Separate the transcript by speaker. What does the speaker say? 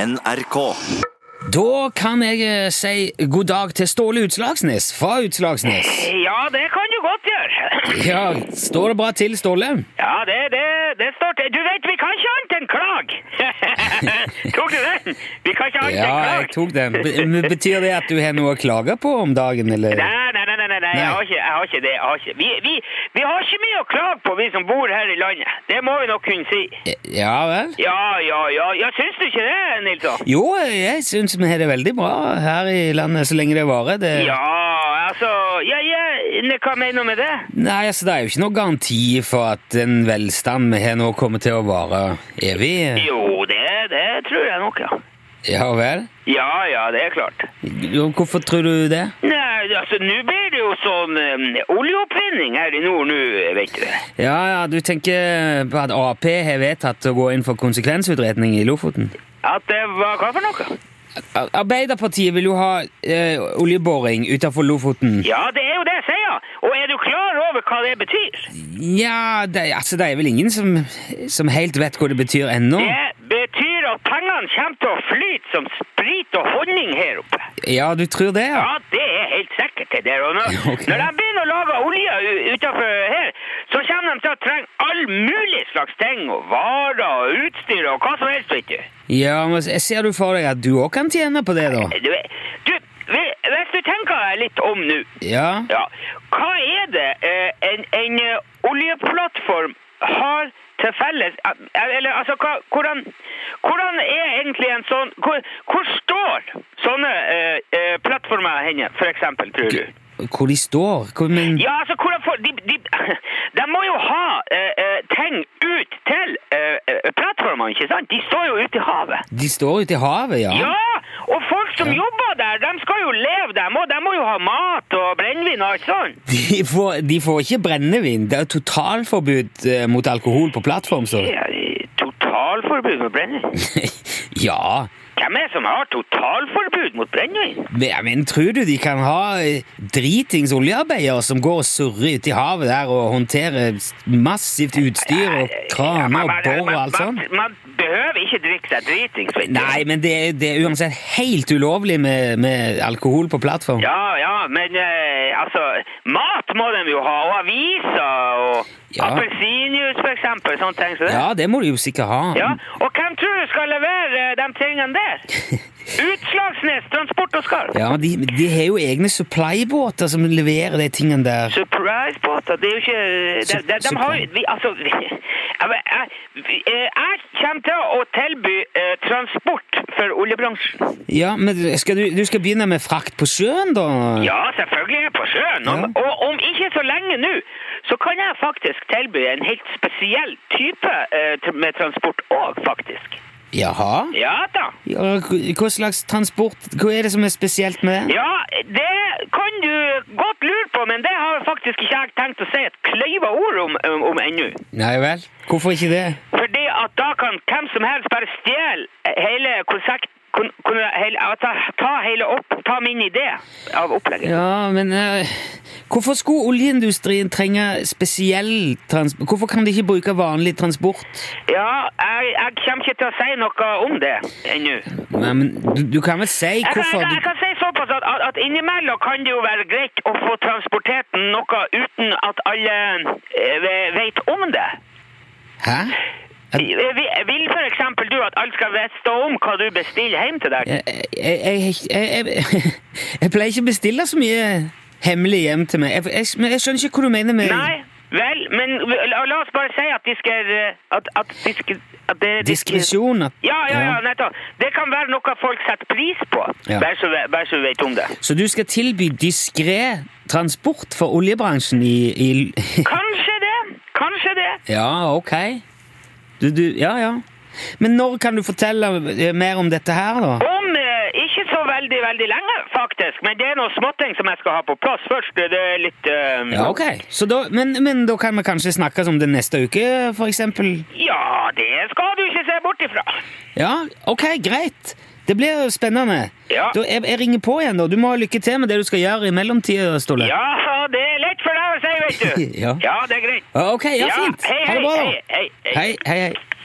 Speaker 1: NRK.
Speaker 2: Da kan jeg eh, si god dag til Ståle Utslagsnes fra Utslagsnes.
Speaker 3: Ja, det kan du godt gjøre.
Speaker 2: Ja, Står det bra til, Ståle?
Speaker 3: Ja, det, det, det står til. Du vet, vi kan ikke annet enn klag. Tok du den? Vi kan ikke annet enn
Speaker 2: Ja,
Speaker 3: klag.
Speaker 2: jeg tok den. Be- men Betyr det at du har noe å klage på om dagen, eller?
Speaker 3: Nei, nei, nei, nei, nei, nei. Jeg, har ikke, jeg har ikke det. Jeg har ikke. Vi, vi, vi har ikke mye å klage på, vi som bor her i landet. Det må vi nok kunne si.
Speaker 2: Ja vel?
Speaker 3: Ja, ja, ja. ja syns du ikke det, Nilsson?
Speaker 2: Jo, jeg syns vi har det veldig bra her i landet så lenge det varer. Det...
Speaker 3: Ja, altså Ja, ja, ne- hva mener du med det?
Speaker 2: Nei, altså, det er jo ikke noe garanti for at den velstand vi har nå, kommer til å vare evig.
Speaker 3: Jo, det, det tror jeg nok, ja.
Speaker 2: Ja vel?
Speaker 3: Ja, ja, det er klart.
Speaker 2: Jo, Hvorfor tror du det?
Speaker 3: Nei, altså, nå blir det jo sånn eh, oljeoppvinning her i nord nå, vet du.
Speaker 2: Ja, ja, du tenker på at Ap har vedtatt å gå inn for konsekvensutredning i Lofoten?
Speaker 3: At det var hva for noe?
Speaker 2: Ar- Arbeiderpartiet vil jo ha eh, oljeboring utenfor Lofoten.
Speaker 3: Ja, det er jo det jeg sier. Og er du klar over hva det betyr?
Speaker 2: Ja, det, altså, det er vel ingen som, som helt vet hva det betyr ennå.
Speaker 3: Det betyr at pengene kommer til å flyte som sprit og honning her oppe.
Speaker 2: Ja, du tror det, ja?
Speaker 3: Ja, det er helt sikkert det der. Og når,
Speaker 2: Ok.
Speaker 3: når de begynner å lage olje u- utenfor her, så kommer de til å trenge all mulig slags ting. Og varer og utstyr og hva som helst, vet du.
Speaker 2: Ja, men jeg ser du for deg at du òg kan tjene på det, da?
Speaker 3: Du, du hvis du tenker deg litt om nå
Speaker 2: Ja.
Speaker 3: Ja. Hva er det eh, en, en eh, oljeplattform har til felles eh, Eller altså, hva, hvordan, hvordan er egentlig en sånn Hvor, hvor står sånne eh, eh, plattformer henne, for eksempel, tror du?
Speaker 2: Hvor de står? Hvor, men,
Speaker 3: Ja, altså, hvordan får De, de, de må jo ha eh, eh, ting ut til eh, eh, plattformene, ikke sant? De står jo ute i havet.
Speaker 2: De står ute i havet, ja?
Speaker 3: Ja, og folk som
Speaker 2: Ja.
Speaker 3: jobber der, de skal jo leve, dem, og de må jo ha mat og brennevin og alt sånt.
Speaker 2: De, får, de får ikke brennevin. Det er totalforbud eh, mot alkohol på plattform, så
Speaker 3: Ja, eh, Totalforbud mot brennevin?
Speaker 2: Ja.
Speaker 3: Hvem er det som har totalforbud mot brennevin?
Speaker 2: Men, men tror du de kan ha eh, dritings oljearbeidere som går og surrer ute i havet der og håndterer s- massivt utstyr og kraner og bor og alt sånt?
Speaker 3: Man, man behøver ikke drikke seg dritings. vet du.
Speaker 2: altså? Nei, men det, er- det er uansett helt ulovlig med, med alkohol på plattform.
Speaker 3: Ja, ja, men eh, altså Mat må de jo ha, og aviser og
Speaker 2: Ja.
Speaker 3: appelsinjuice, for eksempel. Sånne ting som det.
Speaker 2: Ja, det må de jo sikkert ha.
Speaker 3: Ja, Og hvem tror du skal levere eh, de tingene der? Utslagsnes Transport og Skarv.
Speaker 2: Ja, men de, de har jo egne supplybåter som leverer de tingene der.
Speaker 3: Surprise-båter, det er jo ikke De, de, de har jo vi, Altså vi, jeg, jeg, eh, jeg kommer til å tilby eh, transport for oljebransjen.
Speaker 2: Ja, men skal du, du skal begynne med frakt på sjøen, da?
Speaker 3: Ja, selvfølgelig er jeg på sjøen. Om,
Speaker 2: Ja.
Speaker 3: Og om ikke så lenge nå, så kan jeg faktisk tilby en helt spesiell type eh, tr- med transport òg, faktisk.
Speaker 2: Jaha?
Speaker 3: Ja da.
Speaker 2: Ja, hva hva slags transport Hva er det som er spesielt med det?
Speaker 3: Ja, det kan du godt lure på, men det har faktisk ikke jeg tenkt å si et kløyva ord om, om, om ennå.
Speaker 2: Nei vel? Hvorfor ikke det?
Speaker 3: Fordi at da kan hvem som helst bare stjele hele konsept... Kun, kun, hele, ja, ta, ta hele opp, ta min idé av opplegget.
Speaker 2: Ja, men eh, Hvorfor skulle oljeindustrien trenge spesiell transport? Hvorfor kan de ikke bruke vanlig transport?
Speaker 3: Ja, jeg, jeg kommer ikke til å si noe om det ennå. Jeg,
Speaker 2: Nei, men du, du kan vel si
Speaker 3: kan- jeg,
Speaker 2: hvorfor
Speaker 3: kan- jeg
Speaker 2: du
Speaker 3: kan si såpass at, at, at innimellom kan det jo være greit å få transportert noe uten at alle eh, ve- vet om det.
Speaker 2: Hæ? Jeg,
Speaker 3: Vi- vi- Vil for eksempel du at alle skal vite om hva du bestiller hjem til deg?
Speaker 2: jeg, jeg, jeg, jeg, jeg, jeg pleier ikke å bestille så mye hemmelig hjem til meg. Jeg, jeg, men jeg skjønner ikke hva du mener med
Speaker 3: Nei, vel, men la la oss bare si at de skal eh, At, at, de skal- at det, de skal-
Speaker 2: diskresjon. at-
Speaker 3: Ja, ja, ja, nettopp. Det kan være noe folk setter pris på,
Speaker 2: Ja.
Speaker 3: bare så, ve- bare så vi vet om det.
Speaker 2: Så du skal tilby diskré transport for oljebransjen i, i
Speaker 3: Kanskje det, kanskje det.
Speaker 2: Ja, ok. Du, du, ja, ja. Men når kan du fortelle eh, mer om dette her, da?
Speaker 3: Om eh, ikke så veldig, veldig lenge, faktisk, men det er noe småting som jeg skal ha på plass først. Det er litt eh,
Speaker 2: Ja, ok. Så da, men, men da kan vi kanskje snakkes om det neste uke, for eksempel?
Speaker 3: Ja, det skal du ikke se bort ifra.
Speaker 2: Ja, ok, greit. Det blir spennende.
Speaker 3: Ja.
Speaker 2: Da, jeg, jeg ringer på igjen, da. Du må ha lykke til med det du skal gjøre i mellomtida, Ståle.
Speaker 3: Ja, det er lett for deg å si, vet du.
Speaker 2: Ja.
Speaker 3: ja det er greit.
Speaker 2: Ok, ja, fint.
Speaker 3: Hei,
Speaker 2: ha
Speaker 3: hei,
Speaker 2: det bra, da.
Speaker 3: hei, hei, hei.
Speaker 2: hei, hei. hei.